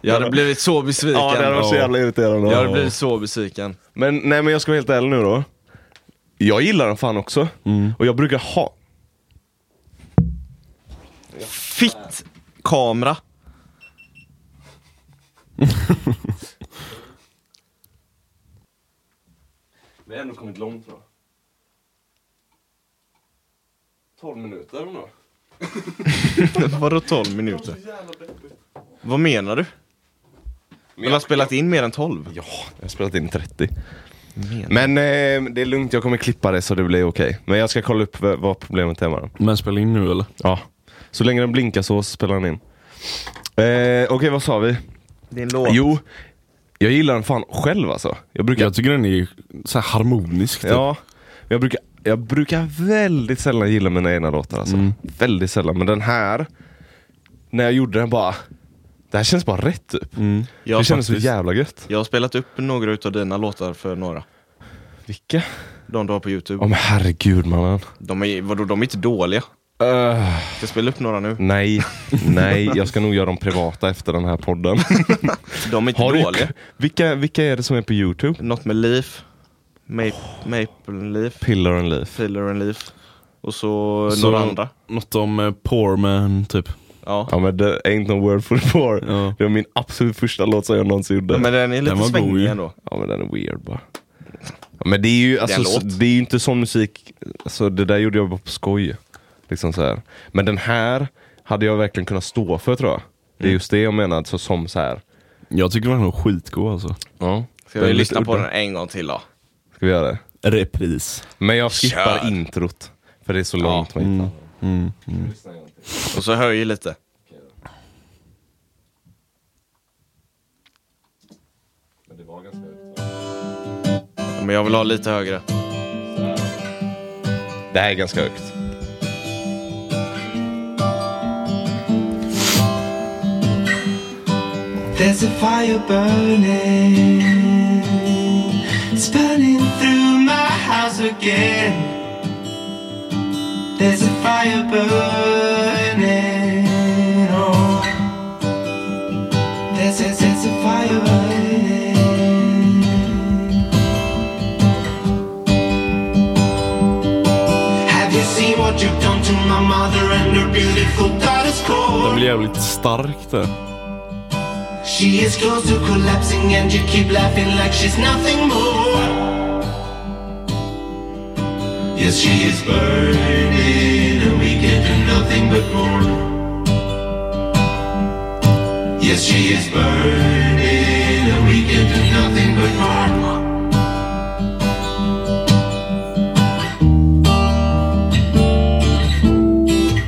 Speaker 3: Jag hade blivit så besviken.
Speaker 1: Ja det hade varit så jävla irriterande.
Speaker 3: Jag hade blivit så besviken.
Speaker 1: Men nej men jag ska vara helt ärlig nu då. Jag gillar den fan också. Och jag brukar ha...
Speaker 3: Fitt kamera.
Speaker 1: Vi har ändå kommit långt då. 12 minuter då.
Speaker 3: Vadå 12 minuter? Vad menar du? Men har spelat in mer än 12?
Speaker 1: Ja, jag har spelat in 30. Men eh, det är lugnt, jag kommer klippa det så det blir okej. Men jag ska kolla upp v- vad problemet är med den.
Speaker 2: Men spela in nu eller?
Speaker 1: Ja. Så länge den blinkar så spelar den in. Eh, okej, vad sa vi?
Speaker 3: Det är en låt.
Speaker 1: Jo, jag gillar den fan själv alltså. Jag brukar,
Speaker 2: Jag tycker den är så här harmonisk. Typ.
Speaker 1: ja, jag brukar, jag brukar väldigt sällan gilla mina egna låtar alltså. Väldigt sällan, men den här, när jag gjorde den bara, det här känns bara rätt typ.
Speaker 2: Mm.
Speaker 3: jag,
Speaker 1: det
Speaker 3: har
Speaker 1: kändes så
Speaker 3: faktiskt-
Speaker 1: jävla gött.
Speaker 3: jag har spelat upp några utav dina låtar för några.
Speaker 1: Vilka?
Speaker 3: De du har på youtube.
Speaker 1: Ja men herregud mannen.
Speaker 3: De är, vadå, de är inte dåliga.
Speaker 1: Öh.
Speaker 3: Ska jag spela upp några nu?
Speaker 1: nej, nej, jag ska nog göra dem privata efter den här podden.
Speaker 3: De är inte
Speaker 1: Har du-
Speaker 3: dåliga.
Speaker 1: vilka, vilka är det som är på youtube?
Speaker 3: Något med Leaf. Maple, maple Leaf.
Speaker 1: Pillar and Leaf.
Speaker 3: Pillar and Leaf. Och så,
Speaker 2: Så-
Speaker 3: några andra.
Speaker 2: Något om eh, poor man typ.
Speaker 3: Ja.
Speaker 1: Ja men det ain't no word for the poor.
Speaker 2: Ja.
Speaker 1: Det var min absolut första låt som jag någonsin gjorde.
Speaker 3: Men den är lite
Speaker 2: Den var god
Speaker 3: svängig
Speaker 2: ju.
Speaker 3: ändå.
Speaker 1: Ja men den är weird bara. Ja, men det är ju alltså,
Speaker 3: Det är en
Speaker 1: så,
Speaker 3: låt.
Speaker 1: det är ju inte sån musik, alltså, det där gjorde jag bara på skoj. Liksom så här. Men den här hade jag verkligen kunnat stå för tror jag. Det
Speaker 3: Mm.
Speaker 1: är just det jag menar, alltså, som så här.
Speaker 2: Jag tycker den var skitgod alltså.
Speaker 1: Ja.
Speaker 3: Ska
Speaker 1: Den är
Speaker 3: vi lyssna
Speaker 1: lite
Speaker 3: på
Speaker 1: udda.
Speaker 3: den en gång till då?
Speaker 1: Ska vi göra det?
Speaker 2: Repris.
Speaker 1: Men jag skippar
Speaker 3: Kör. Mm.
Speaker 1: introt. För det är så långt man hittar.
Speaker 3: Och så höjer lite. Ja, Men jag vill ha lite högre.
Speaker 1: Det här är ganska högt.
Speaker 5: There's a fire burning. It's burning through my house again. There's a fire burning. Oh. There's, there's, there's a fire burning. Have you seen what you've done to my mother and her beautiful daughter's core?
Speaker 2: Den blir jävligt stark där.
Speaker 5: She is close to collapsing and you keep laughing like she's nothing more. Yes, she is burning and we can do nothing but mourn. Yes, she is burning and we can do nothing but mourn.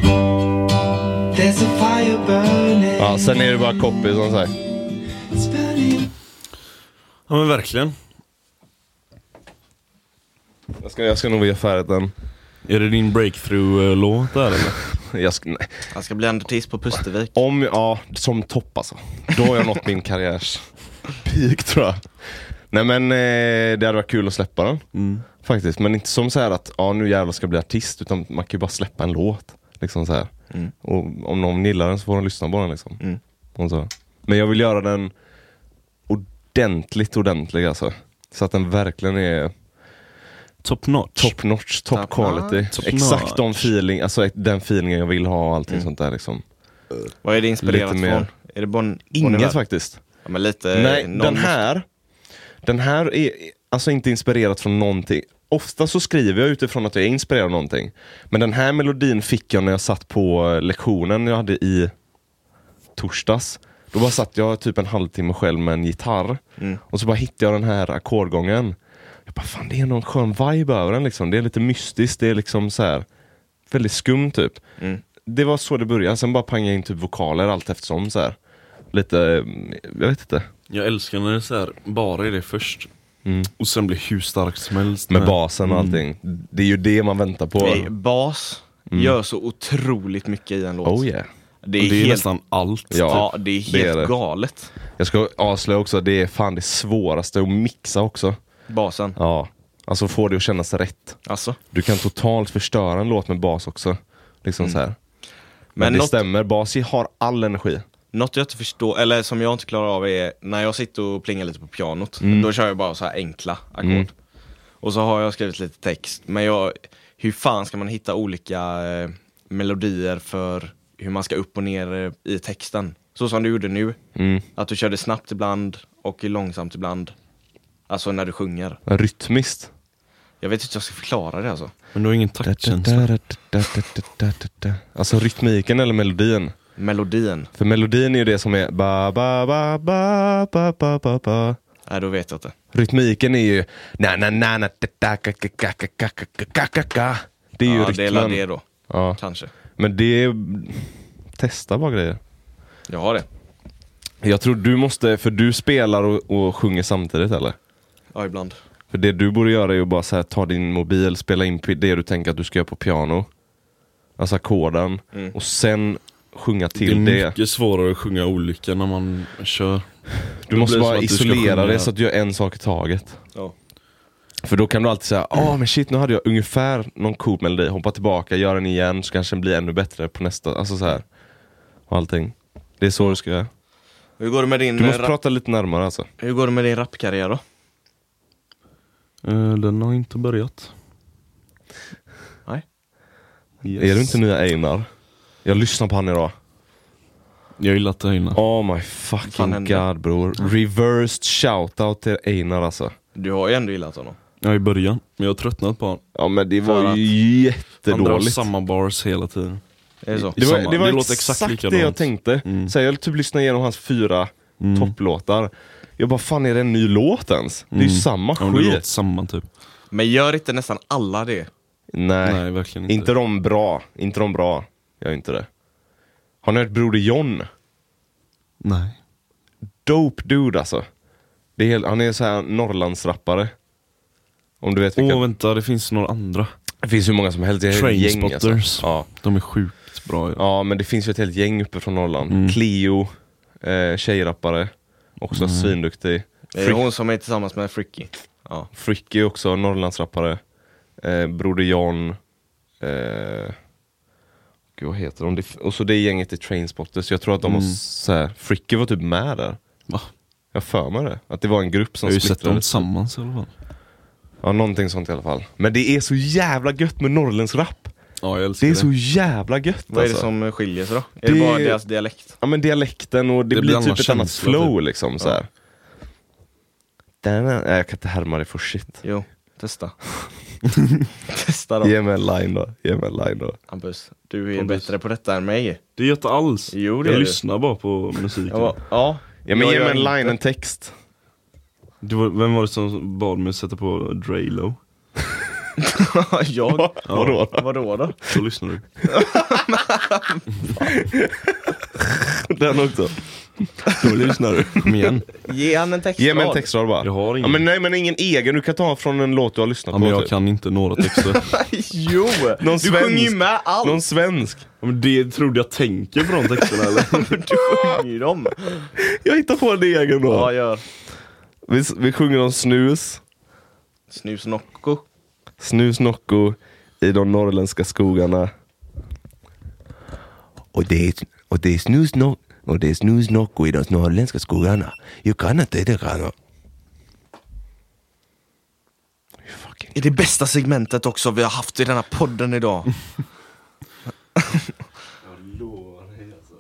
Speaker 5: There's a fire burning.
Speaker 1: Ja, sen är det bara copy som sagt.
Speaker 5: It's burning.
Speaker 2: Ja men verkligen.
Speaker 1: Jag ska, jag ska nog göra färdigt den.
Speaker 2: Är det din breakthrough-låt där eller?
Speaker 1: Jag ska, nej.
Speaker 3: Han ska bli en artist på Pustervik.
Speaker 1: Om, ja, som topp alltså. Då har jag nått min karriärs peak tror jag. Nej men eh, det hade varit kul att släppa den.
Speaker 2: Mm.
Speaker 1: Faktiskt, men inte som så här att ja, nu jävlar ska jag bli artist. Utan man kan ju bara släppa en låt. Liksom så här.
Speaker 2: Mm.
Speaker 1: Och om någon gillar den så får de lyssna på den liksom. Och så. Men jag vill göra den ordentligt ordentlig alltså. Så att den verkligen är
Speaker 2: Top notch.
Speaker 1: top notch, top,
Speaker 3: Top
Speaker 1: quality.
Speaker 2: notch. Top
Speaker 1: Exakt
Speaker 2: notch.
Speaker 1: de feeling, alltså den feelingen jag vill ha och allting sånt där liksom.
Speaker 3: Vad är det inspirerat
Speaker 1: Lite mer.
Speaker 3: från? Är det Bon
Speaker 1: Inget
Speaker 3: Bonneville?
Speaker 1: faktiskt.
Speaker 3: Ja, men lite...
Speaker 1: Nej,
Speaker 3: någon
Speaker 1: den
Speaker 3: måste-
Speaker 1: här, den här är alltså inte inspirerad från någonting. Ofta så skriver jag utifrån att jag är inspirerad av någonting. Men den här melodin fick jag när jag satt på eh, lektionen jag hade i torsdags. Då bara satt jag typ en halvtimme själv med en gitarr.
Speaker 3: Mm.
Speaker 1: Och så bara hittade jag den här ackordgången. Jag bara, fan det är någon skön vibe över den liksom. Det är lite mystiskt, det är liksom så här väldigt skum typ.
Speaker 3: Mm.
Speaker 1: Det var så det började, sen bara pangade jag in typ vokaler allt eftersom så här. Lite, eh, jag vet inte.
Speaker 2: Jag älskar när det är så här, bara är det först. Och sen blir hur starkt som helst.
Speaker 1: Med basen och allting. Det är ju det man väntar på. Mm.
Speaker 3: Nej, bas gör så otroligt mycket i en låt.
Speaker 1: Oh yeah.
Speaker 3: Det
Speaker 2: Det
Speaker 3: är,
Speaker 2: är,
Speaker 3: helt,
Speaker 2: nästan allt.
Speaker 3: ja, det är helt
Speaker 1: det är det.
Speaker 3: galet.
Speaker 1: Jag ska avslöja också, det är fan det svåraste att mixa också.
Speaker 3: Basen.
Speaker 1: Ja. Alltså få det att kännas rätt.
Speaker 3: Alltså.
Speaker 1: Du kan totalt förstöra en låt med bas också. Liksom så här. Men,
Speaker 3: Men
Speaker 1: det
Speaker 3: något-
Speaker 1: stämmer, bas har all energi.
Speaker 3: Något jag inte förstår, eller som jag inte klarar av är när jag sitter och plingar lite på pianot,
Speaker 1: Mm.
Speaker 3: då kör jag bara så här enkla ackord. Och så har jag skrivit lite text, men jag, hur fan ska man hitta olika eh, melodier för hur man ska upp och ner eh, i texten? Så som du gjorde nu,
Speaker 1: Mm.
Speaker 3: att du körde snabbt ibland och långsamt ibland. Alltså när du sjunger.
Speaker 1: Rytmiskt.
Speaker 3: Jag vet inte hur jag ska förklara det alltså.
Speaker 2: Men du har ingen taktkänsla.
Speaker 1: Alltså rytmiken eller melodin.
Speaker 3: Melodin,
Speaker 1: För melodin är ju det som är ba ba ba ba ba ba ba ba.
Speaker 3: nej då vet jag inte.
Speaker 1: Rytmiken är ju na na na na ta, ta, ka, ka, ka, ka, ka, ka, ka, ka, ka, ka. Det är ju
Speaker 3: ja, det är väl det
Speaker 1: rytmen.
Speaker 3: då,
Speaker 1: Ja.
Speaker 3: kanske.
Speaker 1: Men det är... Testa bara grejer.
Speaker 3: Jag har det.
Speaker 1: Jag tror du måste, för du spelar och, och sjunger samtidigt eller?
Speaker 3: Ja, ibland.
Speaker 1: För det du borde göra är ju bara så här, ta din mobil, spela in pi- det du tänker att du ska göra på piano. Alltså ackorden.
Speaker 3: Mm.
Speaker 1: Och sen sjunga
Speaker 2: Det är
Speaker 1: till det.
Speaker 2: mycket svårare att sjunga olika när man kör.
Speaker 1: Du måste
Speaker 2: blir det
Speaker 1: bara
Speaker 2: som att du ska
Speaker 1: isolera
Speaker 2: sjunga-
Speaker 1: det så att du gör en sak i taget.
Speaker 3: Ja.
Speaker 1: För då kan du alltid säga, ah men shit nu hade jag ungefär någon cool melodi, hoppa tillbaka, gör den igen så kanske den blir ännu bättre på nästa, alltså så här. Och allting. Det är så du ska göra.
Speaker 3: Hur går det med din
Speaker 1: Du måste
Speaker 3: rap-
Speaker 1: prata lite närmare alltså.
Speaker 3: Hur går det med din rapkarriär då?
Speaker 2: Eh, Den har inte börjat.
Speaker 3: Nej.
Speaker 2: Yes.
Speaker 1: Är du inte nya Einar? Jag lyssnar på han idag.
Speaker 2: Jag gillar att det regnar.
Speaker 1: Oh my
Speaker 3: Fan
Speaker 1: fucking
Speaker 3: hände?
Speaker 1: god bror. Reversed shoutout till Einar alltså.
Speaker 3: Du har ju ändå gillat honom.
Speaker 2: Ja i början, men jag har tröttnat på honom.
Speaker 1: Ja men det
Speaker 3: För
Speaker 1: var
Speaker 3: att-
Speaker 1: ju
Speaker 2: Han drar
Speaker 1: jättedåligt.
Speaker 2: samma bars hela tiden.
Speaker 3: Är det så?
Speaker 1: Det
Speaker 2: samma.
Speaker 1: var, det var
Speaker 2: Det låter exakt
Speaker 1: exakt, det jag
Speaker 2: likadant.
Speaker 1: tänkte. Så här, jag typ lyssnade igenom hans fyra topplåtar. Jag bara, fan är det en ny låt ens? Det är ju samma
Speaker 2: Ja, men det låter
Speaker 1: skit.
Speaker 2: samma typ.
Speaker 3: Men gör inte nästan alla det?
Speaker 1: Nej.
Speaker 2: Nej verkligen inte.
Speaker 1: Inte de bra, inte de bra. Jag är inte det. Har ni hört Broder John?
Speaker 2: Nej.
Speaker 1: Dope dude alltså. Det är helt, han är så här Norrlandsrappare. Om du vet
Speaker 2: Åh
Speaker 1: vilka.
Speaker 2: vänta, det finns några andra.
Speaker 1: det finns hur många som helst. Det är ett helt gäng
Speaker 2: Trainspotters.
Speaker 1: alltså. ja.
Speaker 2: De är sjukt bra. Ja.
Speaker 1: ja, men det finns ju ett helt gäng uppe från Norrland.
Speaker 2: Mm.
Speaker 1: Cleo, eh, tjejrappare. Också
Speaker 2: Mm.
Speaker 1: svinduktig.
Speaker 3: Det är hon som är tillsammans med Fricky. Ja.
Speaker 1: Fricky också, Norrlandsrappare. Eh, Broder John. Eh, gud vad heter de? Det, och så det gänget i Trainspotters. Jag tror att de
Speaker 2: Mm.
Speaker 1: har så här, Fricky var typ med där.
Speaker 2: Va?
Speaker 1: Jag har för mig det. Att det var en grupp
Speaker 2: Jag
Speaker 1: som
Speaker 2: har ju sett dem
Speaker 1: splittrades.
Speaker 2: tillsammans i alla fall.
Speaker 1: Ja, någonting sånt i alla fall. Men det är så jävla gött med norrländsrap.
Speaker 2: Ja jag älskar
Speaker 1: Det
Speaker 2: det.
Speaker 1: är så jävla gött
Speaker 3: Vad är det
Speaker 1: alltså.
Speaker 3: som skiljer sig då? Är
Speaker 1: Det-
Speaker 3: det bara deras dialekt?
Speaker 1: Ja men dialekten och det, blir
Speaker 2: Det blir
Speaker 1: typ
Speaker 2: annan
Speaker 1: ett annat
Speaker 2: känsla,
Speaker 1: flow
Speaker 2: typ.
Speaker 1: liksom så här. Denna- Nej, jag kan inte härma det för shit.
Speaker 3: Jo, testa. testa då.
Speaker 1: Ge mig en line då, ge mig en line då.
Speaker 3: Hampus, du är
Speaker 2: Hampus.
Speaker 3: bättre på detta än mig.
Speaker 2: Det gör inte alls.
Speaker 3: Jo, det
Speaker 2: jag
Speaker 3: är det.
Speaker 2: lyssnar bara på musiken.
Speaker 3: Jag bara,
Speaker 1: Typ.
Speaker 3: ja.
Speaker 1: Ja men
Speaker 3: jag
Speaker 1: ge
Speaker 3: gör
Speaker 1: mig en
Speaker 3: inte.
Speaker 1: line, en text.
Speaker 2: Det var, vem var det som bad mig sätta på Draylo?
Speaker 3: jag?
Speaker 1: Vadå?
Speaker 3: Vadå då?
Speaker 2: Så lyssnar du.
Speaker 1: Den också.
Speaker 2: Då lyssnar du. Kom igen.
Speaker 3: Ge han en textrad.
Speaker 1: Ge mig en textrad bara.
Speaker 2: Jag har
Speaker 1: ja,
Speaker 2: ingen.
Speaker 1: men nej men ingen egen, du kan ta från en låt du har lyssnat
Speaker 2: Ja,
Speaker 1: på.
Speaker 2: men jag
Speaker 1: typ.
Speaker 2: kan inte några texter.
Speaker 3: jo!
Speaker 1: Någon
Speaker 3: du
Speaker 1: svensk.
Speaker 3: sjunger ju med allt!
Speaker 1: Någon svensk.
Speaker 2: Ja, men det trodde jag tänker på de texterna eller?
Speaker 3: Du sjunger ju dem.
Speaker 1: Jag hittar på en egen då.
Speaker 3: Ja, gör.
Speaker 1: Vi, vi sjunger om snus,
Speaker 3: Snus Nocco.
Speaker 1: snus Nocco i de norrländska skogarna.
Speaker 6: Och det är, och det är snusnock och det är snusnock i de norrländska skogarna. Jag kan inte det kan jag.
Speaker 1: fucking...
Speaker 3: I det bästa segmentet också vi har haft i denna podden idag.
Speaker 1: Jag lovar dig alltså.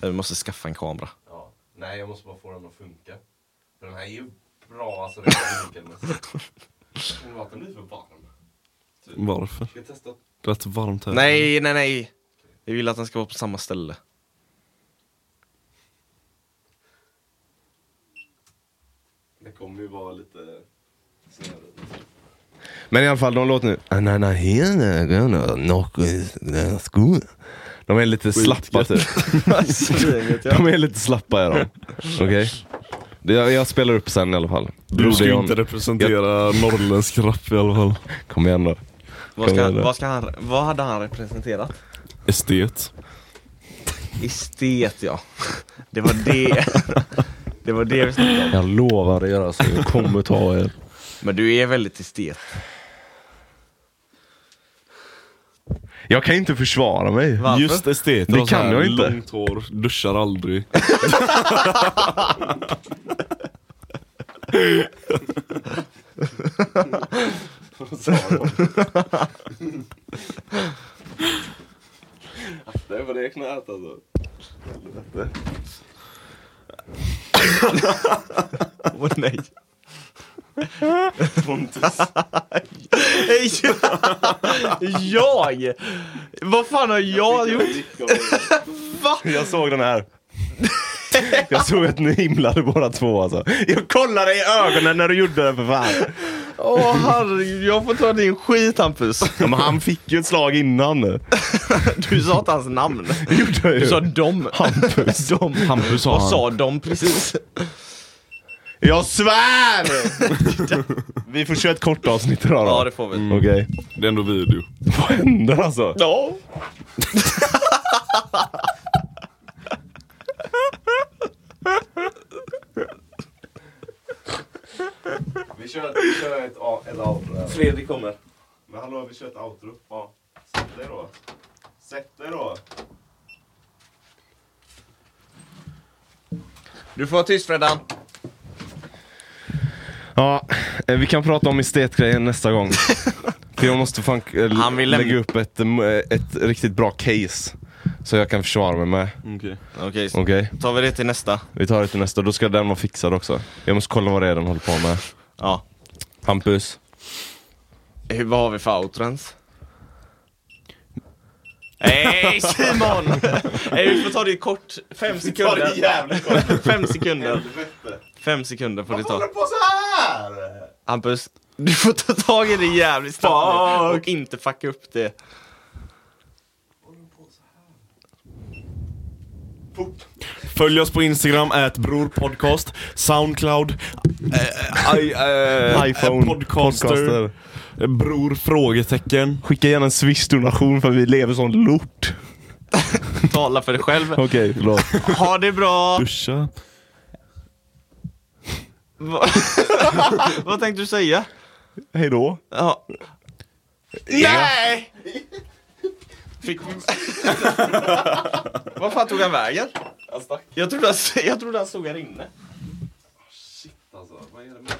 Speaker 3: Vi måste skaffa en kamera.
Speaker 1: Ja. Nej, jag måste bara få den att funka. För den här är ju bra alltså. Den kommer vara att den blir för varm.
Speaker 2: Varför?
Speaker 1: Ska jag testa?
Speaker 2: Det lät varmt här.
Speaker 3: Nej, nej, nej. Vi vill att den ska vara på samma ställe.
Speaker 1: Det kommer ju vara lite snöre. Men i alla fall, de låter nu... Anana hena gana noko sko. De är lite slappa typ. De är lite slappa är de. Okej? Det- Jag, jag spelar upp sen i alla fall.
Speaker 2: Du ska ju
Speaker 1: Broder
Speaker 2: inte
Speaker 1: John.
Speaker 2: representera norrländsk rap i alla fall.
Speaker 1: Kom igen då.
Speaker 3: Vad, ska
Speaker 2: Kom
Speaker 3: han,
Speaker 2: igen.
Speaker 3: vad, ska han, vad hade han representerat?
Speaker 2: Estet.
Speaker 3: Estet ja. Det var det. Det var det vi snackade om.
Speaker 1: Jag lovar er alltså, jag kommer ta er.
Speaker 3: Men du är väldigt estet.
Speaker 1: Jag kan inte försvara mig.
Speaker 3: Varför?
Speaker 2: Just esteter
Speaker 1: Det
Speaker 2: har så
Speaker 1: kan
Speaker 2: här
Speaker 1: jag inte.
Speaker 2: Långt hår, duschar aldrig.
Speaker 1: Det var det knät alltså.
Speaker 3: Åh nej. Pontus. jag? Vad fan har jag gjort?
Speaker 1: Jag såg den här. Jag såg att ni himlade båda två alltså. Jag kollade i ögonen när du gjorde det för fan.
Speaker 3: Åh herregud, jag får ta din skit Hampus.
Speaker 1: Ja, men han fick ju ett slag innan. Det
Speaker 3: Du sa inte hans namn.
Speaker 1: gjorde jag ju.
Speaker 3: Du sa dom. Hampus. dom.
Speaker 2: Hampus sa
Speaker 3: Vad
Speaker 2: han.
Speaker 3: sa dom precis?
Speaker 1: Jag svär! Vi får köra ett kort avsnitt idag då.
Speaker 3: Ja det får vi.
Speaker 1: Okej.
Speaker 2: Det är ändå video.
Speaker 1: Vad händer alltså?
Speaker 3: Ja.
Speaker 1: Vi kör, vi kör ett, a- ett outro. Fredrik kommer. Men hallå, vi kör ett outro. Ja. Sätt dig då. Sätt dig då.
Speaker 3: Du får vara tyst Freddan.
Speaker 1: Ja, eh, vi kan prata om estetgrejen nästa gång. För jag måste fan eh, l-
Speaker 3: Han vill lämna-
Speaker 1: lägga upp ett, em, eh, ett riktigt bra case. Så jag kan försvara mig med.
Speaker 3: Mm.
Speaker 2: Okej.
Speaker 3: Okej,
Speaker 1: Okej,
Speaker 3: tar vi det till nästa.
Speaker 1: vi tar det till nästa. Då ska den vara fixad också. Jag måste kolla vad det är den håller på med.
Speaker 3: Ja.
Speaker 1: Hampus.
Speaker 3: Hur, vad har vi för outro ens? Nej Simon! Nej, vi får ta det kort. Fem sekunder. Fem sekunder. Fem sekunder får du ta.
Speaker 1: på så här?
Speaker 3: Hampus, du får ta tag i det jävligt snabbt nu och inte fucka upp det.
Speaker 2: Följ oss på Instagram, at brorpodcast, Soundcloud, eh, i, eh,
Speaker 1: iPhone.
Speaker 2: podcaster,
Speaker 1: Podcaster.
Speaker 2: eh, bror? Frågetecken.
Speaker 1: Skicka gärna en swish-donation för vi lever som lort.
Speaker 3: Tala för dig själv.
Speaker 1: Okej, förlåt.
Speaker 3: Ha det bra!
Speaker 2: Duscha.
Speaker 3: Va- Vad tänkte du säga?
Speaker 1: Hej då.
Speaker 3: Ja. Nej! Fick... Vad fan tog han vägen? Jag trodde han, jag trodde han stod här inne.
Speaker 1: Alltså, vad är det med